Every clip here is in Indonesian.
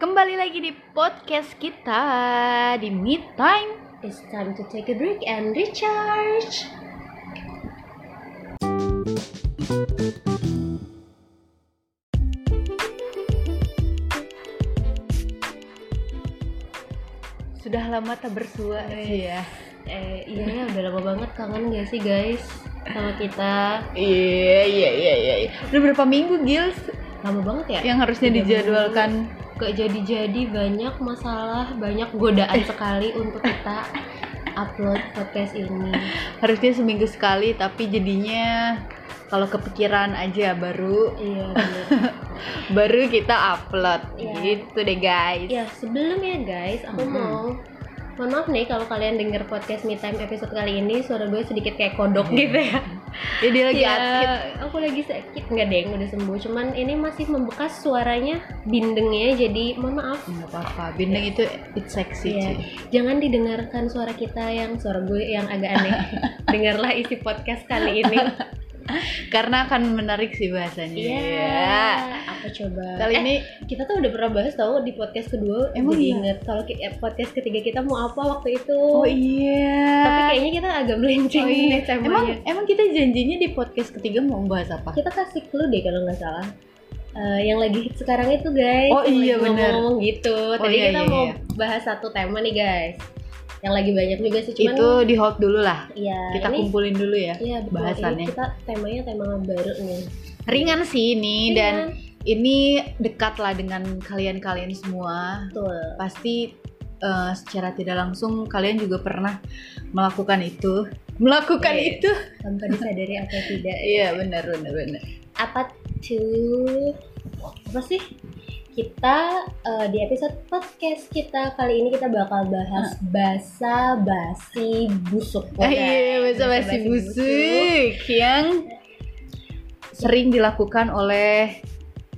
Kembali lagi di podcast kita di Mid Time. It's time to take a break and recharge. Sudah lama tak bersua Iya. ya. Eh, iya ya udah lama banget kangen gak sih guys sama kita? Iya, iya, iya, iya. Udah berapa minggu Gils Lama banget ya? yang harusnya Udah dijadwalkan? Gak jadi-jadi banyak masalah, banyak godaan sekali untuk kita upload podcast ini. Harusnya seminggu sekali tapi jadinya kalau kepikiran aja baru Iya bener. baru kita upload Iya. gitu deh guys. Ya sebelumnya guys, aku Mhm. mau Mohon maaf nih kalau kalian denger podcast Me Time episode kali ini suara gue sedikit kayak kodok gitu ya. Jadi lagi Iya, aktif. aku lagi sakit nggak deng udah sembuh cuman ini masih membekas suaranya bindengnya jadi mohon maaf nggak apa-apa, bintang itu it's sexy Iya. cuy. jangan didengarkan suara kita yang suara gue yang agak aneh dengarlah isi podcast kali ini Karena akan menarik sih bahasanya. iya Iya. apa coba Kali Eh, ini kita tuh udah pernah bahas tau di podcast kedua Emang jadi iya? inget kalau ki- eh, podcast ketiga kita mau apa waktu itu Oh iya. tapi kayaknya kita agak melenceng Oh, iya. deh temanya Emang emang kita janjinya di podcast ketiga mau membahas apa? kita kasih clue deh kalau nggak salah Eh, yang lagi hit sekarang itu guys Oh, yang iya, lagi bener. ngomong gitu tadi iya, kita iya, mau iya. bahas satu tema nih guys yang lagi banyak juga sih cuman itu di hold dulu lah. ya Kita ini kumpulin dulu ya. iya, betul. bahasannya. ini kita temanya tema baru nih Ringan sih ini dan Iya, ini dekat lah dengan kalian-kalian semua. betul Pasti eh, secara tidak langsung kalian juga pernah melakukan itu. Melakukan Iya. itu. tanpa disadari atau tidak Iya, benar benar benar. apa tuh apa sih kita eh, di episode podcast kita kali ini kita bakal bahas bahasa basi busuk Ah, Iya, guys. bahasa basi Basa-basi busuk yang sering dilakukan oleh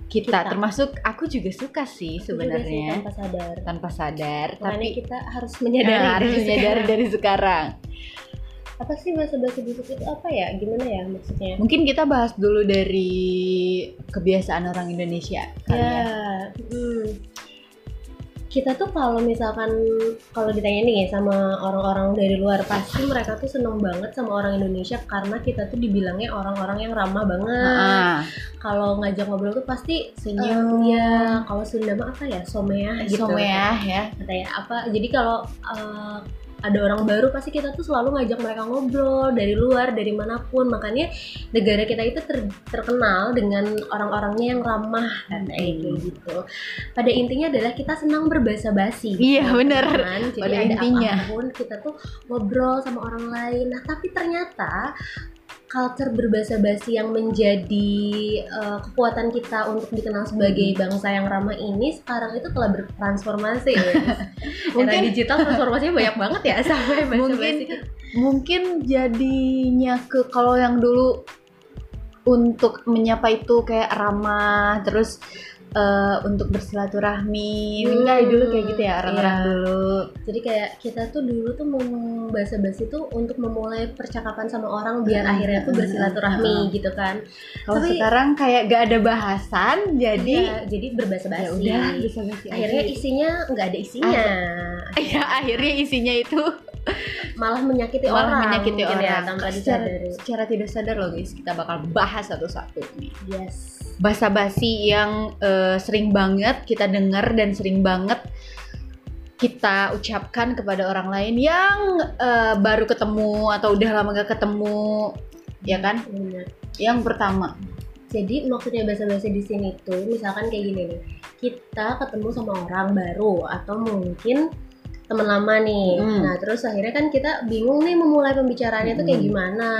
kita, Kita. termasuk aku juga suka sih Aku juga sih sebenarnya tanpa sadar tanpa sadar makanya tapi kita harus menyadari, menyadari harus diri menyadari sendiri. dari sekarang apa sih bahasa bahasa busuk itu apa ya gimana ya maksudnya mungkin kita bahas dulu dari kebiasaan orang Indonesia kali ya ya. mm. kita tuh kalau misalkan kalau ditanya nih ya sama orang-orang dari luar pasti mereka tuh seneng banget sama orang Indonesia karena kita tuh dibilangnya orang-orang yang ramah banget Ah, kalau ngajak ngobrol tuh pasti Senyum. eh, iya. kalau Sunda mah apa ya somea gitu someah ya katanya apa jadi kalau uh, ada orang baru pasti kita tuh selalu ngajak mereka ngobrol dari luar dari manapun makanya negara kita itu ter- terkenal dengan orang-orangnya yang ramah dan kayak Hmm. gitu pada intinya adalah kita senang berbahasa basi Iya, bener. jadi Pada ada intinya. apapun kita tuh ngobrol sama orang lain nah tapi ternyata culture berbahasa basi yang menjadi uh, kekuatan kita untuk dikenal sebagai Hmm. bangsa yang ramah ini sekarang itu telah bertransformasi guys. Mungkin- Era digital transformasinya banyak banget ya sampai bahasa Mungkin gitu. mungkin jadinya ke kalau yang dulu untuk menyapa itu kayak ramah terus eh, untuk bersilaturahmi Hmm, Mungkin dari dulu kayak gitu ya orang-orang iya. dulu Jadi kayak kita tuh dulu tuh mau bahasa basi tuh untuk memulai percakapan sama orang biar Hmm, akhirnya tuh hmm, bersilaturahmi gitu kan. kalau Tapi- sekarang kayak gak ada bahasan jadi Iya, jadi berbahasa ya basi. udah bisa basi akhirnya aja. isinya nggak ada isinya. ya akhirnya isinya itu Malah menyakiti malah orang. menyakiti mungkin orang ya, tanpa secara, disadari. secara tidak sadar loh guys kita bakal bahas satu-satu nih Yes. bahasa basi yang eh, sering banget kita dengar dan sering banget kita ucapkan kepada orang lain yang eh, baru ketemu atau udah lama gak ketemu ya kan Benar. yang pertama Jadi maksudnya bahasa-bahasa di sini tuh misalkan kayak gini nih. Kita ketemu sama orang baru atau mungkin teman lama nih. Hmm. Nah, terus akhirnya kan kita bingung nih memulai pembicaraannya tuh kayak Hmm. gimana.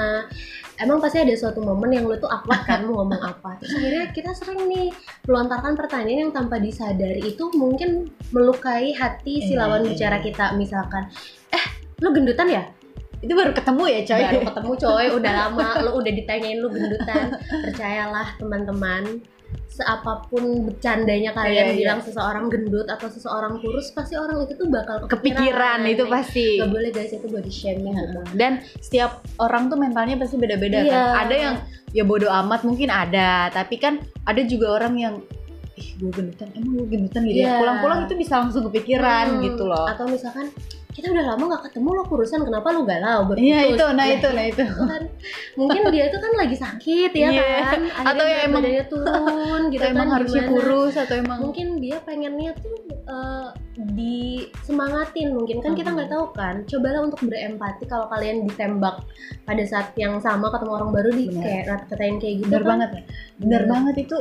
Emang pasti ada suatu momen yang lu tuh awkward kan mau ngomong apa. Terus akhirnya kita sering nih melontarkan pertanyaan yang tanpa disadari itu mungkin melukai hati si Iya, lawan iya, bicara iya. kita misalkan. Eh, lu gendutan ya? itu baru ketemu ya coy baru ketemu coy udah lama lu udah ditanyain lu gendutan percayalah teman-teman seapapun Iya, bercandanya kalian iya. bilang seseorang gendut atau seseorang kurus pasti orang itu tuh bakal kepikiran itu pasti Iya, Gak boleh guys itu body shaming gitu. dan setiap orang tuh mentalnya pasti beda-beda Iya. kan ada yang ya bodoh amat mungkin ada tapi kan ada juga orang yang ih gue gendutan emang gue gendutan gitu ya Iya. pulang-pulang itu bisa langsung kepikiran Hmm, gitu loh Atau misalkan kita udah lama nggak ketemu lo kurusan kenapa lo galau berputus? iya itu nah itu nah itu kan mungkin dia tuh kan lagi sakit ya Iya. kan Atau ya berat emang- badannya turun gitu atau kan emang harusnya gimana. kurus atau emang mungkin dia pengennya tuh eh, disemangatin mungkin kan kita Mhm. nggak tahu kan cobalah untuk berempati kalau kalian ditembak pada saat yang sama ketemu orang baru di Benar. kayak rat- katain kayak gitu bener kan. banget ya bener banget itu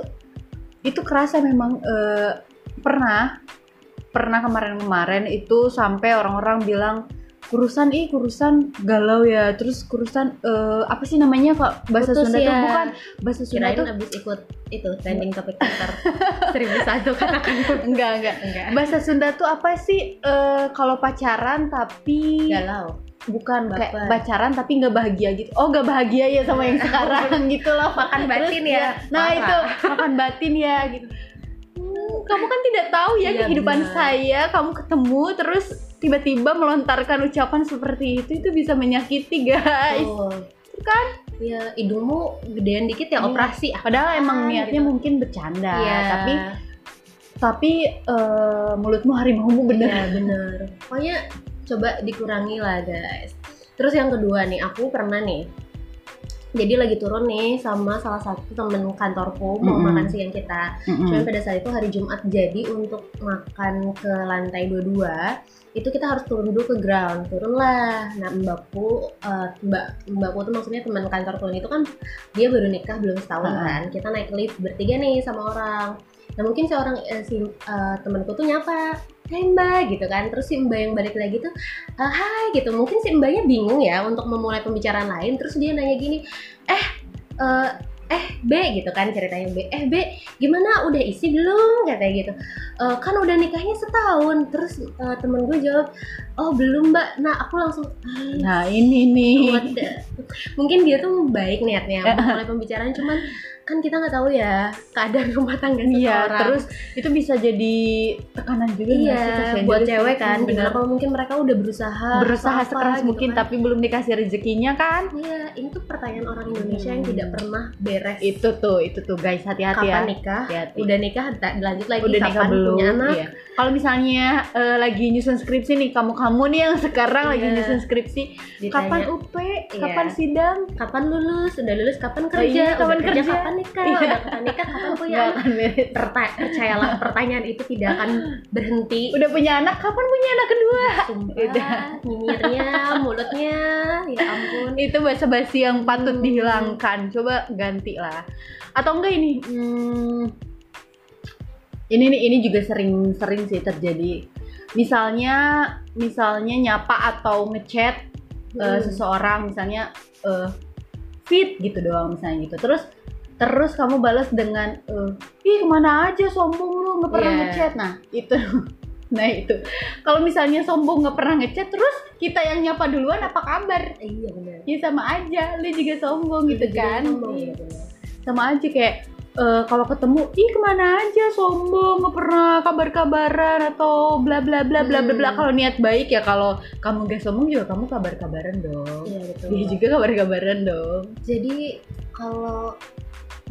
itu kerasa memang eh, pernah pernah kemarin-kemarin itu sampai orang-orang bilang kurusan ih kurusan galau ya terus kurusan eh, apa sih namanya kok bahasa Putus Sunda tuh ya. bukan bahasa Sunda kirain tuh Iya. abis ikut itu trending topic Twitter seribu satu katakan enggak enggak enggak bahasa Sunda tuh apa sih eh, kalau pacaran tapi galau bukan kayak Baper. pacaran tapi nggak bahagia gitu oh nggak bahagia ya sama yang sekarang gitu loh Makan batin Terus ya. nah Parah. itu makan batin ya gitu Hmm, kamu kan tidak tahu ya Iya, kehidupan benar. saya kamu ketemu terus tiba-tiba melontarkan ucapan seperti itu itu bisa menyakiti Oh. guys kan ya hidungmu gedean dikit ya Iya. operasi ah. padahal emang Apaan niatnya gitu. mungkin bercanda Iya. tapi tapi eh, mulutmu harimaumu bener Iya, bener pokoknya coba dikurangi lah guys terus yang kedua nih aku pernah nih jadi lagi turun nih sama salah satu temen kantorku mau Mm-mm. makan siang kita. Cuman pada saat itu hari Jumat jadi untuk makan ke lantai 22 itu kita harus turun dulu ke ground. Turunlah. Nah mbakku, eh, mbak mbakku tuh maksudnya teman kantorku ini itu kan dia baru nikah belum setahun Ah. kan. Kita naik lift bertiga nih sama orang. Nah mungkin si orang eh, si eh, temanku tuh nyapa, Hai mbak gitu kan Terus si mbak yang balik lagi tuh "Eh, Hai gitu Mungkin si mbaknya bingung ya Untuk memulai pembicaraan lain Terus dia nanya gini Eh eh, eh B gitu kan ceritanya B Eh B gimana udah isi belum katanya gitu "Eh, Kan udah nikahnya setahun Terus eh, temen gue jawab Oh belum mbak Nah aku langsung "Ah, nah ini nih What the- mungkin dia tuh baik niatnya Eh, memulai pembicaraan cuman kan kita nggak tahu ya keadaan rumah tangga Iya, seseorang. terus itu bisa jadi tekanan juga nggak sih, iya kasihan buat juga sih. cewek kan Hmm, bener. bener kalau mungkin mereka udah berusaha Berusaha Ah, apa-apa sekeras gitu mungkin kan. tapi belum dikasih rezekinya kan. iya ini tuh pertanyaan orang Indonesia yang Hmm. tidak pernah beres Itu tuh, itu tuh guys, hati-hati kapan ya. nikah Hati-hati. udah nikah ta- lanjut lagi Udah kapan nikah belum? punya anak Iya. Kalau misalnya eh, lagi nyusun skripsi nih, kamu-kamu nih yang sekarang lagi Iya. nyusun skripsi, kapan ditanya, Iya. UP, kapan sidang, oh, kapan lulus udah lulus kapan Oh iya, kerja kapan udah kerja, kerja? kapan nikah Iya. udah kapan nikah kapan punya Nggak anak akan beres. Perta- percayalah pertanyaan itu tidak akan berhenti Udah punya anak, kapan punya anak kedua? Sumpah, Udah. nyinyirnya, mulutnya, ya ampun. Itu bahasa basi yang patut Hmm. dihilangkan. Coba ganti lah. Atau enggak ini? hmm, ini nih, ini juga sering-sering sih terjadi. Misalnya, misalnya nyapa atau ngechat eh, Hmm. seseorang misalnya eh, fit gitu doang misalnya gitu terus terus kamu balas dengan eh, ih kemana aja sombong lu nggak pernah Iya. ngechat nah itu nah itu kalau misalnya sombong nggak pernah ngechat terus kita yang nyapa duluan apa kabar Iya benar. ya sama aja lu juga sombong gitu Jadi kan sombong, ya? Iya. bener. sama aja kayak eh, kalau ketemu ih kemana aja sombong nggak pernah kabar-kabaran atau bla bla bla bla bla bla Hmm. kalau niat baik ya kalau kamu gak sombong juga kamu kabar-kabaran dong Iya betul. dia Oh, juga kabar-kabaran dong. Jadi kalau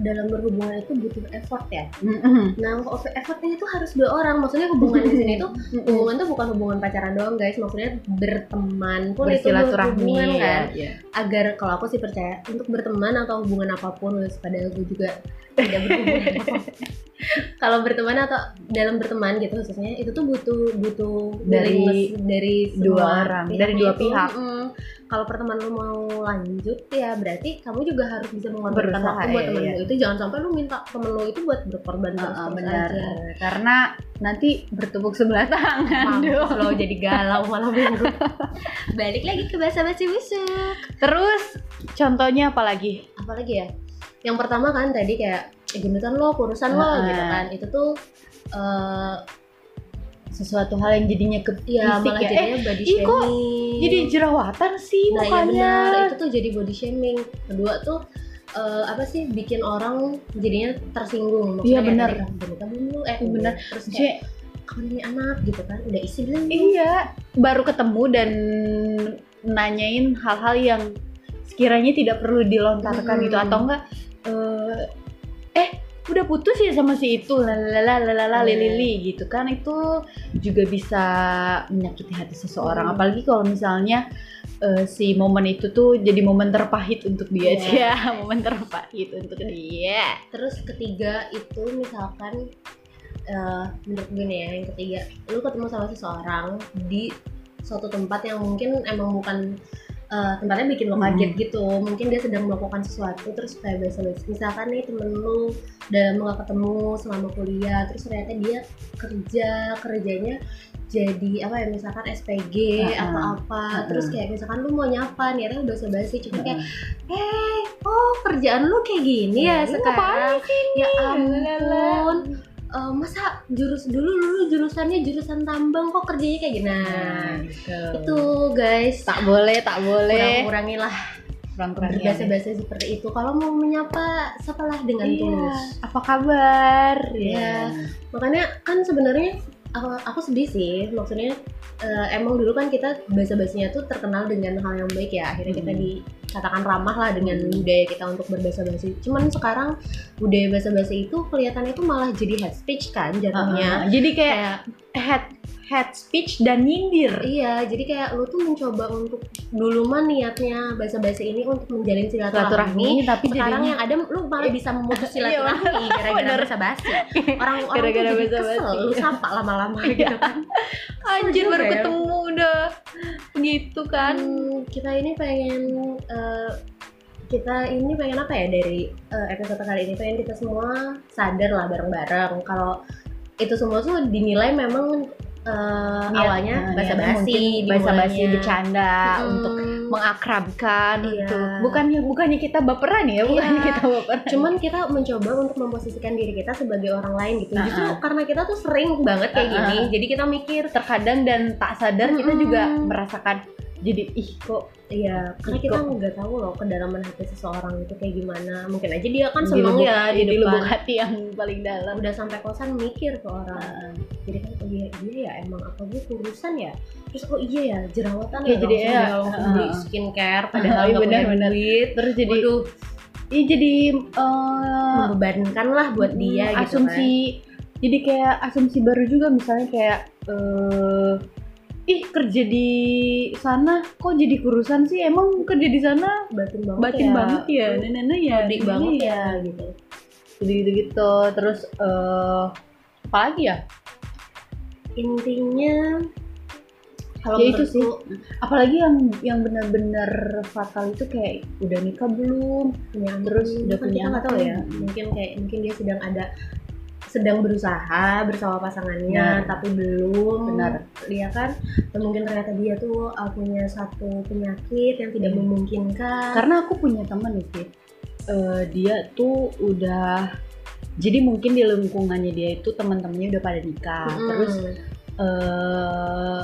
dalam berhubungan itu butuh effort ya. Nah, of- effortnya itu harus dua orang. Maksudnya hubungan di sini tuh hubungan tuh bukan hubungan pacaran doang guys. Maksudnya berteman pun itu Bersilaturahmi hubungan kan. ya, ya. Agar kalau aku sih percaya untuk berteman atau hubungan apapun, wes, padahal gue juga tidak berhubungan apa kalau berteman atau dalam berteman gitu khususnya itu tuh butuh butuh Dari- willingness dari semua dua orang, dari pihaknya dua itu. pihak. Mm-mm. kalau pertemanan lu mau lanjut ya berarti kamu juga harus bisa mengorbankan Berusaha, waktu buat iya, temen iya. lu itu jangan sampai lu minta temen lu itu buat berkorban terus Ah, ah, terus benar. aja Karena nanti bertepuk sebelah tangan Mampus dong. lo jadi galau malam minggu balik lagi ke bahasa basi busuk Terus contohnya apa lagi? apalagi ya yang pertama kan tadi kayak "Eh, gendutan lo kurusan lo Ah. gitu kan itu tuh eh, Sesuatu hal yang jadinya ke ya fisik malah ya. Eh, jadinya body ih, kok shaming jadi jerawatan sih nah, ya iya mukanya. benar, itu tuh jadi body shaming kedua tuh eh, apa sih bikin orang jadinya tersinggung Iya, kayak benar. tadi, kamu kamu lu eh Iya, benar. terus kayak Maksudnya, kapan punya anak gitu kan udah isi belum iya baru ketemu dan nanyain hal-hal yang sekiranya tidak perlu dilontarkan Hmm. gitu atau enggak eh, eh udah putus ya sama si itu lalala lalala Hmm. lilili gitu kan itu juga bisa menyakiti hati seseorang Hmm. apalagi kalau misalnya eh, si momen itu tuh jadi momen terpahit untuk dia Iya. ya momen terpahit untuk dia terus ketiga itu misalkan eh, menurut gue nih ya yang ketiga lu ketemu sama seseorang di suatu tempat yang mungkin emang bukan eh, tempatnya bikin lo kaget Hmm. gitu mungkin dia sedang melakukan sesuatu terus kayak biasa misalkan nih temen lu udah lama gak ketemu selama kuliah terus ternyata dia kerja kerjanya jadi apa ya misalkan SPG Ah, atau ah. apa Ah, ah. terus kayak misalkan lu mau nyapa nih akhirnya basa basi cuma kayak eh oh kerjaan lu kayak gini ya Iya, sekarang ya ampun Lala. Eh, masa jurus dulu dulu jurusannya jurusan tambang kok kerjanya kayak gini nah nah gitu. itu guys tak boleh Iya. tak boleh kurang-kurangilah kurang-kurangnya. berbahasa-bahasa seperti itu kalau mau menyapa sapalah dengan Iya. tulus apa kabar Iya. makanya kan sebenarnya aku, aku sedih sih maksudnya eh, emang dulu kan kita bahasa basinya tuh terkenal dengan hal yang baik ya akhirnya kita Hmm. dikatakan ramah lah dengan Hmm. budaya kita untuk berbahasa basi cuman sekarang budaya bahasa basi itu kelihatannya tuh malah jadi hate speech kan Uh-uh. jatuhnya jadi kayak kayak head head speech dan nyindir iya jadi kayak lu tuh mencoba untuk dulu mah niatnya bahasa basi ini untuk menjalin silaturahmi silaturahmi tapi sekarang jadinya ya, Iya, yang ada lu malah bisa memutus silaturahmi Bener. gara-gara bahasa basi orang orang tuh Gara-gara jadi basa-basi. kesel lu sapa lama-lama Iya. gitu kan anjir baru juga ya. ketemu udah gitu kan Hmm, kita ini pengen eh, kita ini pengen apa ya dari eh, episode kali ini pengen kita semua sadar lah bareng-bareng kalau itu semua tuh dinilai memang eh, Niat- awalnya nah, basa-basi Hmm. mungkin basa-basi dimulainya. bercanda Mm-mm. untuk mengakrabkan Iya. untuk bukannya bukannya kita baperan ya bukannya Iya. kita baperan cuman kita mencoba untuk memposisikan diri kita sebagai orang lain gitu Nah, justru ah. karena kita tuh sering banget kayak Nah, gini jadi kita mikir terkadang dan tak sadar kita juga Mm-mm. merasakan jadi ih kok Iya, karena Iko. kita nggak tahu loh kedalaman hati seseorang itu kayak gimana. Mungkin aja dia kan di seneng lubuk- ya di di lubuk depan. hati yang paling dalam Udah sampai kosan mikir ke orang. Ah, Jadi kan oh iya, iya ya emang apa gue kurusan ya. Terus oh iya ya jerawatan Iya, ya, jadi langsung ya. dia langsung beli skincare Iya, padahal nggak punya benar-benar. duit. terus jadi Waduh, Iya jadi eh, membebankan lah buat dia hmm, gitu asumsi jadi kayak asumsi baru juga misalnya kayak eh ih kerja di sana kok jadi kurusan sih emang kerja di sana kan. Batin banget batin ya. banget ya Lu nenek ya Mudik gini banget ya gitu. jadi gitu gitu terus eh apa lagi ya Intinya kalau Ya, itu menurut sih. lu, apalagi yang yang benar-benar fatal itu kayak udah nikah belum punya anak Terus dulu, udah kan punya kita nggak anak tahu kan. ya mungkin kayak mungkin dia sedang ada sedang berusaha bersama pasangannya Benar. tapi belum Benar. dia kan dan mungkin ternyata dia tuh uh, punya satu penyakit yang tidak Hmm. memungkinkan karena aku punya teman sih eh, dia tuh udah jadi mungkin di lingkungannya dia itu teman-temannya udah pada nikah Mm-mm. terus Hmm, eh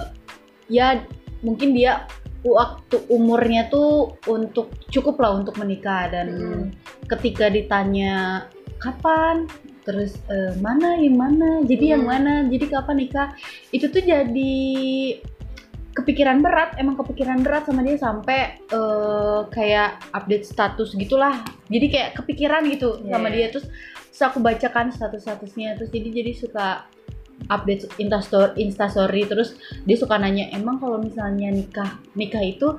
ya mungkin dia waktu umurnya tuh untuk cukup lah untuk menikah dan Mm-mm. ketika ditanya kapan terus eh, mana yang mana jadi yang Mm. mana jadi kapan nikah itu tuh jadi kepikiran berat emang kepikiran berat sama dia sampai eh, kayak update status gitulah jadi kayak kepikiran gitu Iya, sama iya. dia terus terus aku bacakan status-statusnya terus jadi jadi suka update instastory instastory terus dia suka nanya emang kalau misalnya nikah nikah itu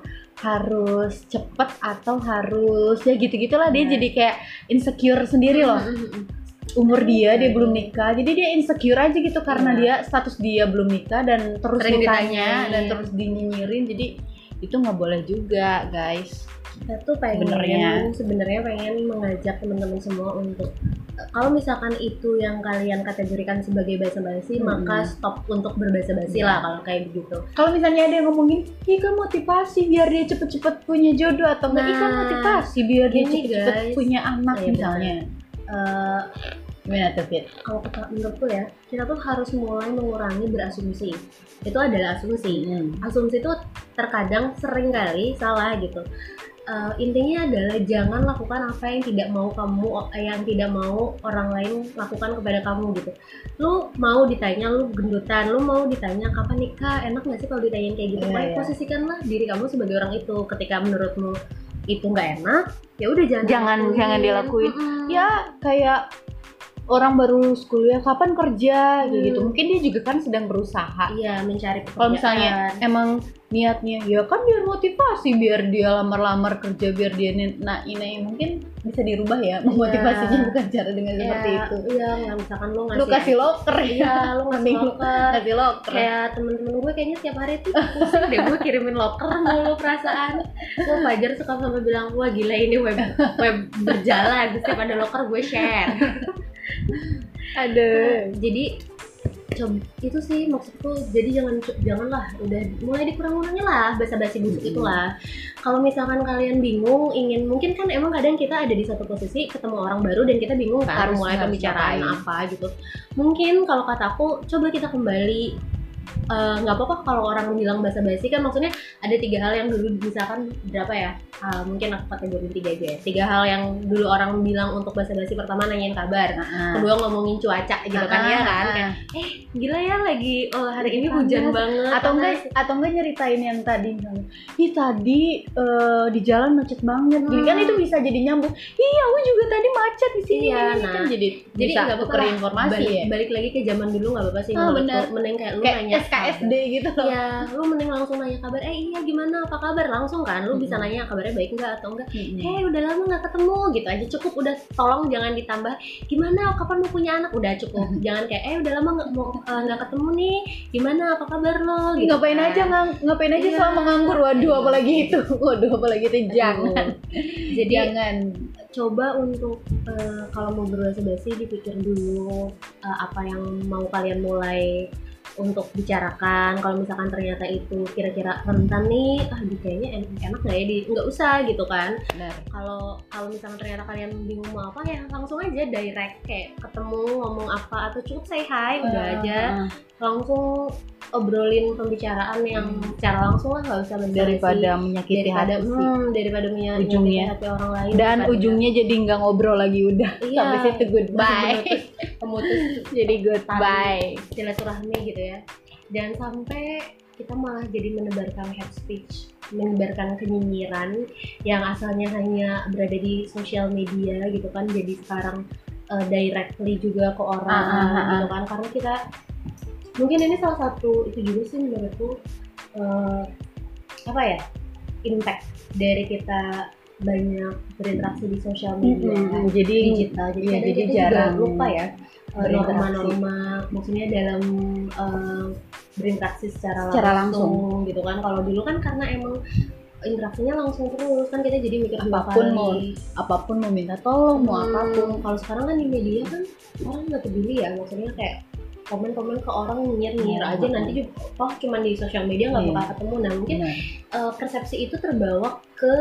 harus cepet atau harus ya gitu gitulah dia Iya. jadi kayak insecure sendiri loh Mm-mm. umur dia dia Iya. belum nikah jadi dia insecure aja gitu karena Iya. dia status dia belum nikah dan terus Sering ditanya ditanyain. dan terus dinyinyirin jadi itu nggak boleh juga guys saya tuh pengen Benernya. sebenarnya pengen mengajak teman-teman semua untuk eh, kalau misalkan itu yang kalian kategorikan sebagai bahasa basi Mm-mm. maka stop untuk berbahasa basi Iya. lah kalau kayak gitu. begitu kalau misalnya ada yang ngomongin ih kan motivasi biar dia cepet-cepet punya jodoh atau enggak ih kan Nah, motivasi biar dia gini, cepet-cepet guys. punya anak Iya, misalnya Eh, gimana tuh Fit? kalau kita menurutku ya kita tuh harus mulai mengurangi berasumsi Hmm. itu adalah asumsi asumsi itu terkadang sering kali salah gitu eh, intinya adalah jangan lakukan apa yang tidak mau kamu yang tidak mau orang lain lakukan kepada kamu gitu lu mau ditanya lu gendutan lu mau ditanya kapan nikah enak nggak sih kalau ditanyain kayak Iya, gitu Pokoknya iya. posisikanlah diri kamu sebagai orang itu ketika menurutmu itu nggak enak ya udah jangan Jangan- dilakuin. jangan dilakuin. Mm-mm. ya kayak orang baru lulus kuliah kapan kerja kayak Hmm. gitu mungkin dia juga kan sedang berusaha iya kan. mencari pekerjaan kalau misalnya emang niatnya ya kan biar motivasi biar dia lamar-lamar kerja biar dia nah ini mungkin bisa dirubah ya memotivasinya bukan cara dengan Ya, seperti itu iya nggak misalkan lu ngasih lu kasih loker iya ya lu ngasih Mending lu loker kasih loker kayak temen-temen gue kayaknya tiap hari tuh pusing deh gue kirimin loker mulu perasaan gue Fajar suka sampai bilang wah gila ini web web berjalan setiap ada loker gue share ada jadi cob- itu sih maksudku jadi jangan janganlah udah mulai dikurang-kurangin lah basa-basi busuk Mm-mm. itulah kalau misalkan kalian bingung ingin mungkin kan emang kadang kita ada di satu posisi ketemu orang baru dan kita bingung kan Harus- mulai harus pembicaraan ngapain. apa gitu mungkin kalau kataku coba kita kembali eh, nggak apa-apa kalau orang bilang basa-basi kan maksudnya ada tiga hal yang dulu misalkan berapa ya Ah, mungkin aku kategori tiga aja ya tiga hal yang dulu orang bilang untuk basa-basi pertama nanyain kabar Nah, kedua ngomongin cuaca gitu kan ya kan Kayak, gila ya lagi oh, hari ini Panas. hujan banget atau enggak panas. atau enggak nyeritain yang tadi misalnya ih tadi eh, di jalan macet banget jadi kan Hmm. itu bisa jadi nyambung iya aku juga tadi macet di sini Iya, ini, ini." kan nah. jadi jadi bisa nggak apa-apa tuker lah. informasi balik, ya balik lagi ke zaman dulu nggak apa-apa sih Ah, menurutku. bener. mending kayak lu kayak nanya SKSD gitu loh Iya, lu mending langsung nanya kabar. Eh iya gimana? Apa kabar? Langsung kan, lu bisa Mm-mm. nanya kabarnya baik nggak atau enggak. Mm-mm. Eh udah lama nggak ketemu gitu aja cukup. Udah tolong jangan ditambah. Gimana? Kapan mau punya anak? Udah cukup. Jangan kayak eh udah lama nggak mau eh, nggak ketemu nih. Gimana? Apa kabar lo? Ih, Eh, ngapain kan. aja ngang, ngapain aja Iya. selama nganggur waduh Iya. apalagi itu waduh apalagi itu Aduh. jangan Iya, Jadi jangan coba untuk eh, kalau mau berbahasa basi dipikir dulu eh, apa yang mau kalian mulai untuk bicarakan kalau misalkan ternyata itu kira-kira rentan nih ah di kayaknya en- enak nggak ya di nggak usah gitu kan benar kalau kalau misalkan ternyata kalian bingung mau apa ya langsung aja direct kayak ketemu ngomong apa atau cukup say hi udah aja Ah, langsung obrolin pembicaraan yang Hmm. secara langsung lah nggak usah basa-basi. daripada menyakiti daripada hati sih. hmm, daripada punya Ujungnya. hati orang lain dan daripada- ujungnya jadi nggak ngobrol lagi udah iya, sampai situ goodbye Pemutus- pemutus jadi goodbye silaturahmi gitu ya dan sampai kita malah jadi menebarkan hate speech menebarkan kenyinyiran yang asalnya hanya berada di sosial media gitu kan jadi sekarang eh, directly juga ke orang Ah, ah, ah, gitu kan karena kita mungkin ini salah satu itu juga sih menurutku eh, apa ya impact dari kita banyak berinteraksi di sosial media Mm-mm. Nah, jadi digital jadi, Iya, kadang jadi Iya. kita juga jarang lupa ya eh, berinteraksi. norma-norma maksudnya dalam eh, berinteraksi secara, Secara gitu kan kalau dulu kan karena emang interaksinya langsung terus kan kita jadi mikir dua Apapun kali. mau- apapun mau minta tolong mau Hmm, apapun kalau sekarang kan di media kan orang nggak peduli ya maksudnya kayak komen-komen ke orang nyinyir-nyinyir Iya. aja nanti juga toh cuma di sosial media nggak Iya. bakal ketemu nah mungkin Benar. eh, persepsi itu terbawa ke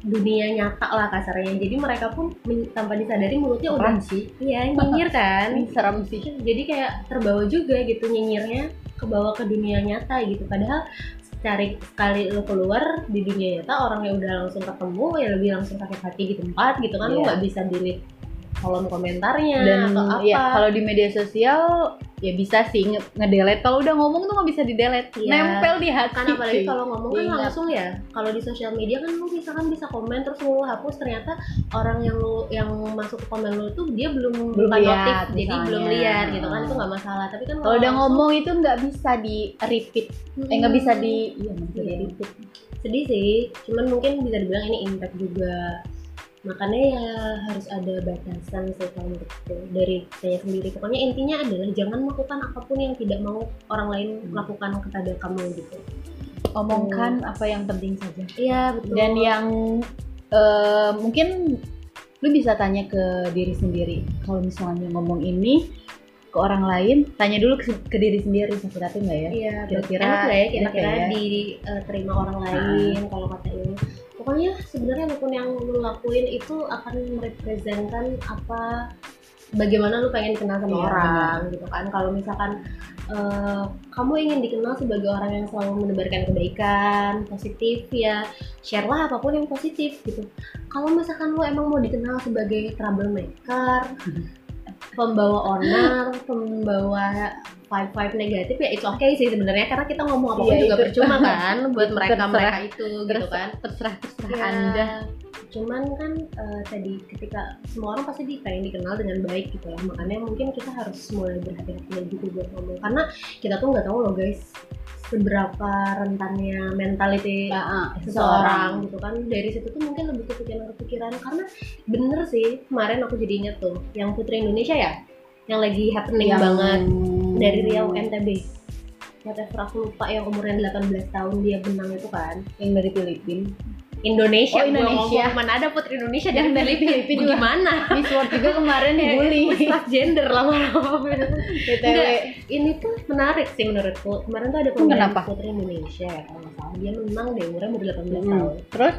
dunia nyata lah kasarnya jadi mereka pun men- tanpa disadari mulutnya Serem udah sih Iya, nyinyir kan. serem sih Jadi kayak terbawa juga gitu nyinyirnya kebawa ke dunia nyata gitu. Padahal cari sekali lo keluar di dunia nyata orang yang udah langsung ketemu ya lebih langsung sakit hati di tempat gitu kan lo Iya. nggak bisa delete kolom komentarnya dan Iya, atau apa ya kalau di media sosial ya bisa sih nge- ngedelete kalau udah ngomong tuh nggak bisa didelete Iya. nempel di hati kan apalagi kalau ngomong kan Diingat. langsung ya kalau di sosial media kan lu misalkan bisa komen terus lu hapus ternyata orang yang lu yang masuk ke komen lu tuh dia belum Belum bukan lihat, notif jadi misalnya. belum lihat gitu kan itu Hmm. nggak masalah tapi kan kalau udah langsung- Hmm. ngomong itu nggak bisa di repeat eh nggak bisa di iya nggak bisa di Iya. repeat sedih sih cuman mungkin bisa dibilang ini impact juga makanya ya harus ada batasan sih kalau menurutku dari saya sendiri pokoknya intinya adalah jangan melakukan apapun yang tidak mau orang lain Hmm. lakukan kepada kamu gitu omongkan apa yang penting saja iya betul dan yang eh, mungkin lu bisa tanya ke diri sendiri kalau misalnya ngomong ini ke orang lain tanya dulu ke, ke diri sendiri sakit hati nggak ya iya kira-kira- enak nggak ya enak kira-kira ya? Ah. diterima orang lain kalau kata ini pokoknya sebenarnya apapun yang lu lakuin itu akan merepresentkan apa bagaimana lu pengen dikenal sama Iya, orang gitu kan kalau misalkan eh, kamu ingin dikenal sebagai orang yang selalu menebarkan kebaikan positif ya share lah apapun yang positif gitu kalau misalkan lu emang mau dikenal sebagai troublemaker pembawa onar pembawa vibe vibe negatif ya it's okay sih sebenarnya karena kita ngomong apapun Iya, juga itu. Iya. percuma kan buat mereka Terserah. mereka itu gitu Terserah. kan terserah terserah Ya, anda Cuman kan eh, tadi ketika semua orang pasti di- pengen dikenal dengan baik gitu ya. Makanya mungkin kita harus mulai berhati-hati lagi gitu buat ngomong. Karena kita tuh nggak tahu loh guys seberapa rentannya mentality Ya, ah, eh, seseorang gitu kan dari situ tuh mungkin lebih kepikiran-kepikiran karena bener sih kemarin aku jadi inget tuh yang putri Indonesia ya yang lagi happening Yang- banget dari Riau NTB whatever aku lupa yang umurnya 18 tahun dia benang itu kan yang dari Filipina Oh, Indonesia, gua Indonesia. ngomong mana ada putri Indonesia Dan dari dari Filipina, Filipina juga. gimana? Miss World juga kemarin dibully transgender lama-lama. BTW Enggak. Ini tuh menarik sih menurutku. Kemarin tuh ada Kenapa? pemilihan putri Indonesia ya kalau nggak salah. Dia menang deh umurnya baru 18 tahun. terus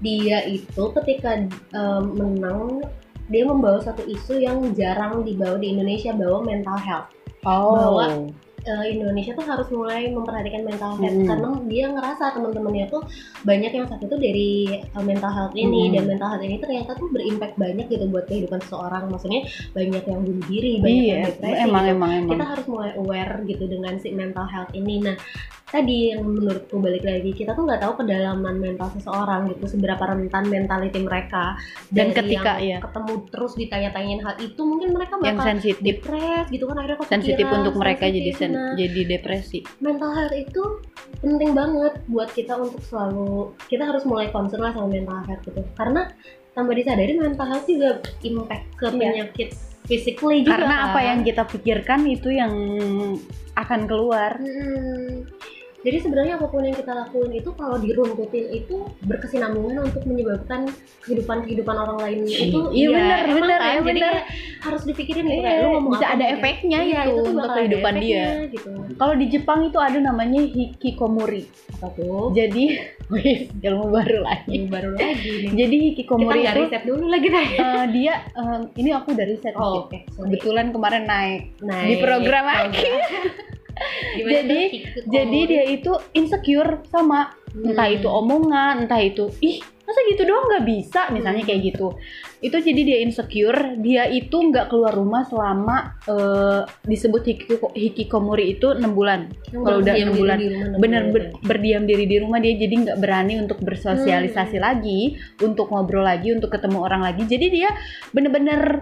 Dia itu ketika em, menang dia membawa satu isu yang jarang dibawa di Indonesia bahwa mental health. Oh, Bawa. Eh, Indonesia tuh harus mulai memperhatikan mental health Mm. karena dia ngerasa teman-temannya tuh banyak yang sakit tuh dari eh, mental health Mm. ini dan mental health ini ternyata tuh berimpact banyak gitu buat kehidupan seseorang maksudnya banyak yang bunuh diri banyak yang iya depresi emang gitu. emang emang kita harus mulai aware gitu dengan si mental health ini nah tadi yang menurutku balik lagi kita tuh nggak tahu kedalaman mental seseorang gitu seberapa rentan mentality mereka dan Dari ketika yang ya ketemu terus ditanya-tanyain hal itu mungkin mereka yang bakal sensitif depres gitu kan akhirnya kepikiran sensitif untuk mereka jadi sensitif. sen- Nah, jadi depresi mental health itu penting banget buat kita untuk selalu kita harus mulai concern lah sama mental health gitu karena tambah disadari mental health juga impact ke penyakit physically Iya. juga karena apa kan. yang kita pikirkan itu yang akan keluar Mm-mm. Mm-hmm. jadi sebenarnya apapun yang kita lakuin itu kalau diruntutin itu berkesinambungan untuk menyebabkan kehidupan kehidupan orang lain itu Iya, benar, emang benar, kan? ya, jadi benar. kayak harus dipikirin gitu Iya, kan, lu ngomong bisa apa ada gitu. efeknya itu, Iya, tuh untuk bakal ada kehidupan dia efeknya, gitu kalau di Jepang itu ada namanya hikikomori apa tuh jadi wih, ilmu baru lagi Yang baru lagi nih jadi hikikomori itu kita nggak riset dulu lagi nih eh, dia eh, ini aku dari riset dikit. oke kebetulan kemarin naik nah di program lagi. Jadi- jadi Oh. dia itu insecure sama entah itu omongan entah itu ih masa gitu doang nggak bisa misalnya Hmm. kayak gitu itu jadi dia insecure dia itu nggak keluar rumah selama eh, disebut hikiko- hikikomori itu enam bulan Hmm. kalau udah enam bulan, ya. bener ber- berdiam diri di rumah dia jadi nggak berani untuk bersosialisasi lagi untuk ngobrol lagi untuk ketemu orang lagi jadi dia bener-bener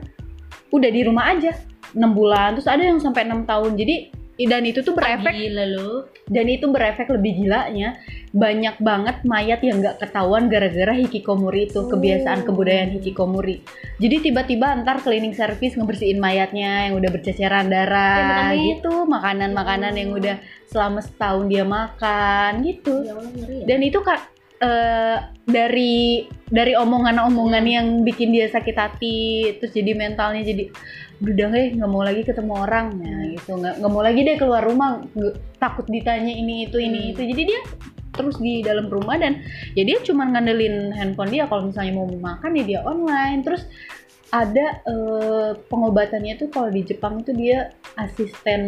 udah di rumah aja enam bulan terus ada yang sampai enam tahun jadi dan itu tuh berefek gila lo dan itu berefek lebih gilanya banyak banget mayat yang nggak ketahuan gara-gara hikikomori itu Oh. kebiasaan kebudayaan hikikomori jadi tiba-tiba antar cleaning service ngebersihin mayatnya yang udah berceceran darah Ya, makanya. gitu makanan-makanan yang udah selama setahun dia makan gitu ya Allah ngeri ya dan itu kak eh, dari dari omongan-omongan yang bikin dia sakit hati terus jadi mentalnya jadi "Aduh, udah deh nggak mau lagi ketemu orang ya Hmm. gitu nggak nggak mau lagi deh keluar rumah Nggak- takut ditanya ini itu ini Hmm. itu jadi dia terus di dalam rumah dan ya dia cuma ngandelin handphone dia kalau misalnya mau makan ya dia online terus ada eh, pengobatannya tuh kalau di Jepang itu dia asisten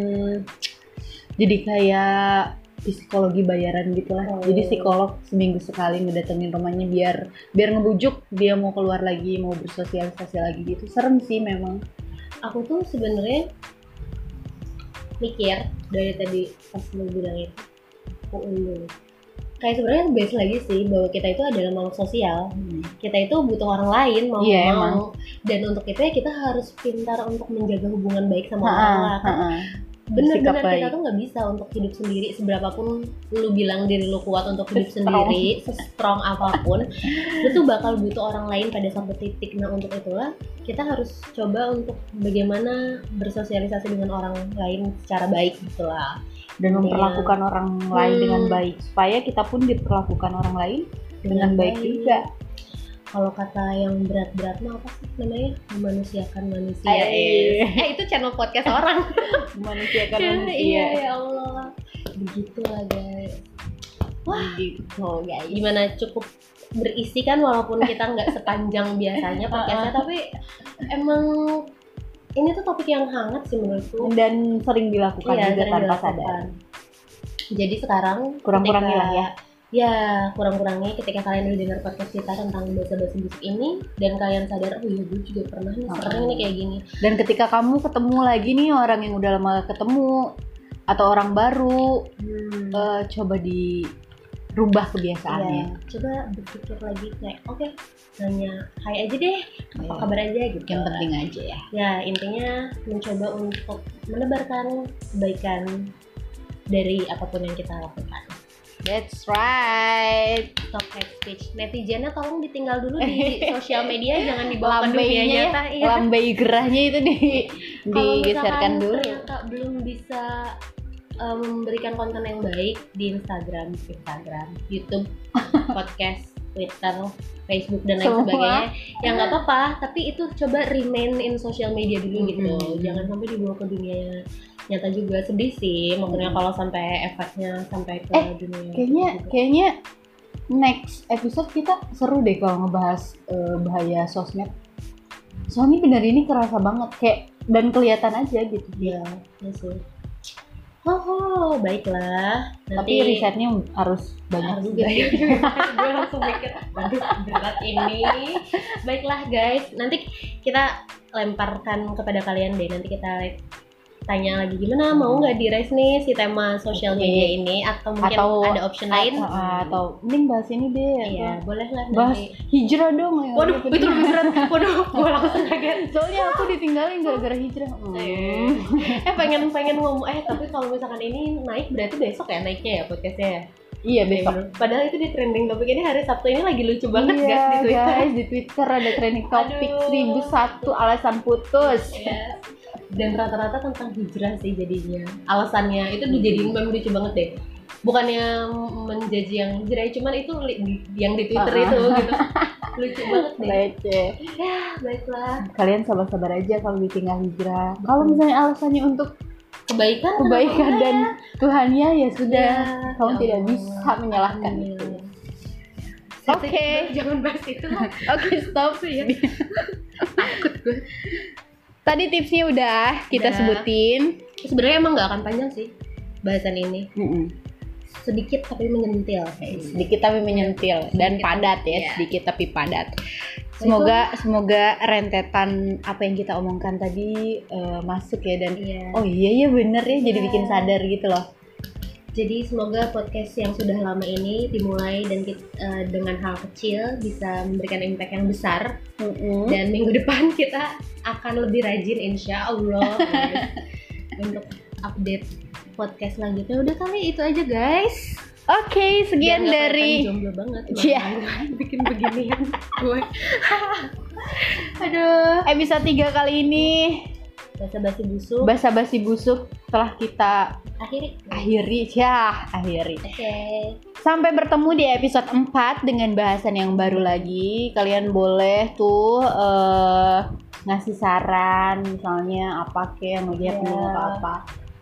jadi kayak psikologi bayaran gitu lah. Oh. Jadi psikolog seminggu sekali ngedatengin rumahnya biar biar ngebujuk dia mau keluar lagi, mau bersosialisasi lagi gitu. Serem sih memang. aku tuh sebenarnya mikir dari tadi pas lu bilang itu aku unduh kayak sebenarnya base lagi sih bahwa kita itu adalah makhluk sosial Oh, kita itu butuh orang lain mau Iya, mau emang. dan untuk itu ya kita harus pintar untuk menjaga hubungan baik sama Ha-ha, orang lain ha-ha. Bersikap bener-bener kita baik. tuh nggak bisa untuk hidup sendiri seberapapun lu bilang diri lu kuat untuk hidup Se-strong. sendiri se-strong apapun lu tuh bakal butuh orang lain pada satu titik nah untuk itulah kita harus coba untuk bagaimana bersosialisasi dengan orang lain secara baik gitu gitulah Dan Iya. memperlakukan orang lain Hmm. dengan baik supaya kita pun diperlakukan orang lain dengan baik juga. kalau kata yang berat-berat mah apa sih namanya memanusiakan manusia Iya. eh itu channel podcast orang Manusia kan Ya, manusia. iya ya Allah begitulah guys Gitu. oh ya gimana cukup berisi kan walaupun kita nggak sepanjang biasanya podcastnya tapi emang ini tuh topik yang hangat sih menurutku dan sering dilakukan Iya, juga sering tanpa dilakukan. sadar jadi sekarang kurang-kurangilah ya ketika- ya kurang-kurangnya ketika kalian dengar podcast kita tentang bahasa-bahasa musik ini dan kalian sadar oh iya gue juga pernah nih Mm-mm. sering nih kayak gini dan ketika kamu ketemu lagi nih orang yang udah lama gak ketemu atau orang baru hmm. eh, coba dirubah kebiasaannya Iya, coba berpikir lagi kayak oke nanya hai aja deh apa Iya. kabar aja gitu yang penting aja ya ya intinya mencoba untuk menebarkan kebaikan dari apapun yang kita lakukan that's right Stop hate speech netizennya tolong ditinggal dulu di sosial media jangan dibawa ke dunia lambainya ya nyata iya. lambai gerahnya itu di Kalau misalkan digeserkan kan dulu ternyata belum bisa eh, memberikan konten yang baik di Instagram, Instagram, YouTube, podcast, Twitter, Facebook dan lain Semua. Iya. sebagainya. Ya nggak apa-apa, tapi itu coba remain in social media dulu gitu. Mm-mm. Jangan sampai dibawa ke dunia nyata juga sedih sih. Maksudnya kalau sampai efeknya sampai ke Eh, dunia. kayaknya gitu. kayaknya next episode kita seru deh kalau ngebahas eh, bahaya sosmed soalnya bener ini kerasa banget kayak dan kelihatan aja gitu ya, ya sih. Oh, oh, baiklah. tapi Nanti- risetnya harus banyak Harus juga ya. banyak. gue iya, langsung mikir waduh berat ini baiklah guys nanti kita lemparkan kepada kalian deh nanti kita tanya lagi gimana mau nggak di raise nih si tema sosial Hmm. Oke. media ini atau mungkin Atau- ada option lain Hmm. atau, Ah, atau mending bahas ini deh iya atau boleh lah bahas nanti hijrah dong ya. waduh itu lebih berat waduh gue langsung kaget soalnya aku ditinggalin gara-gara hijrah Eh, hmm. eh pengen pengen ngomong eh tapi kalau misalkan ini naik berarti besok ya naiknya ya podcastnya ya iya besok padahal itu di trending topik ini hari Sabtu ini lagi lucu iya, banget guys di Twitter guys, di Twitter ada trending topik Aduh. 1001 alasan putus Yes. Iya. Dan rata-rata tentang hijrah sih jadinya. Alasannya itu dijadiin Hmm. meme lucu banget deh. Bukannya menjadi yang hijrah, cuman itu li- di- yang di Twitter Uh-uh. itu gitu. Lucu banget deh. Receh. Ya, baiklah. kalian sabar-sabar aja kalau ditinggal hijrah. Kalau misalnya alasannya untuk Kebaikan kenapa kebaikan enggak dan Tuhannya ya ya? sudah, kamu Ya tidak Allah. bisa menyalahkan Amin. itu. Oke, Oke. jangan bahas itu lah. Oke, stop sih ya. Tadi tipsnya udah kita Udah. sebutin. Sebenarnya emang nggak akan panjang sih bahasan ini. Sedikit tapi menyentil guys. Eh, Sedikit tapi menyentil dan Sedikit. padat ya, Iya. sedikit tapi padat. Semoga semoga rentetan apa yang kita omongkan tadi eh, masuk ya dan Iya. oh iya ya bener ya jadi Iya. bikin sadar gitu loh. Jadi semoga podcast yang sudah lama ini dimulai dan kit- eh, dengan hal kecil bisa memberikan impact yang besar Hmm? dan minggu depan kita akan lebih rajin insya Allah guys, untuk update podcast selanjutnya udah kali itu aja guys Oke, sekian Biar nggak dari kelihatan jomblo banget Iya. makanya bikin beginian gue aduh episode 3 kali ini bahasa basi busuk basa basi busuk telah kita akhiri oke akhiri ya akhiri sampai bertemu di episode 4 dengan bahasan yang baru lagi kalian boleh tuh eh, ngasih saran misalnya apa ke yang dia Iya. punya atau apa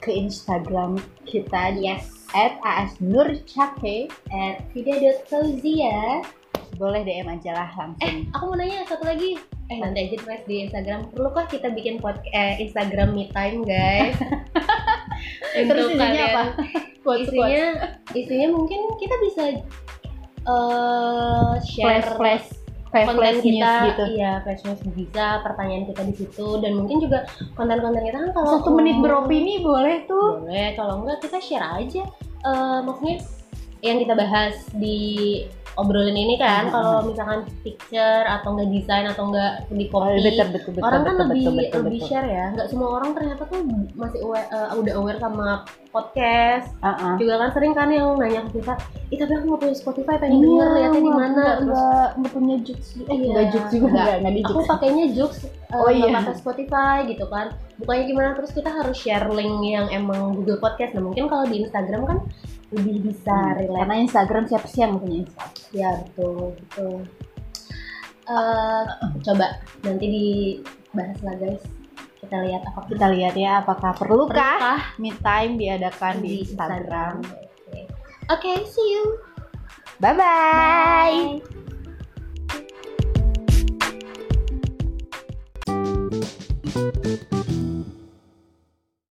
ke Instagram kita yes at asnurcake at vida.fauzia boleh DM aja lah langsung aku mau nanya satu lagi eh nanti aja mas di Instagram perlukah kita bikin podcast Instagram me time guys Terus isinya apa? Quotes, quotes. isinya isinya mungkin kita bisa eh, share flash flash flash konten flash kita news gitu iya flash news bisa pertanyaan kita di situ dan mungkin juga konten-konten kita kan kalau Iya. satu menit ngomong- beropini boleh tuh boleh kalau enggak kita share aja Eh, maksudnya yang kita bahas di obrolan ini kan Mhm. kalau misalkan picture atau enggak desain atau enggak di Oh, copy betul, betul, betul, orang betul, kan lebih betul, betul, lebih betul. share ya nggak semua orang ternyata tuh masih aware- eh, udah aware sama podcast Uh-uh. juga kan sering kan yang nanya ke kita ih tapi aku mau punya Spotify pengen Iya, denger liatnya di mana nggak- Terus, nggak nggak punya jokes eh Iya. nggak jokes juga Nggak. nggak nggak di aku jokes pakainya Joox eh, Gitu. Oh, nggak iya. pakai Spotify gitu kan bukannya gimana terus kita harus share link yang emang Google Podcast nah mungkin kalau di Instagram kan lebih bisa Hmm, relate karena Instagram siapa sih yang punya Instagram ya betul betul Eh, coba nanti dibahas lah guys kita lihat apa kita lihat ya apakah perlukah Perlukah me time diadakan di di Instagram Instagram. Oke, see you. bye bye Bye.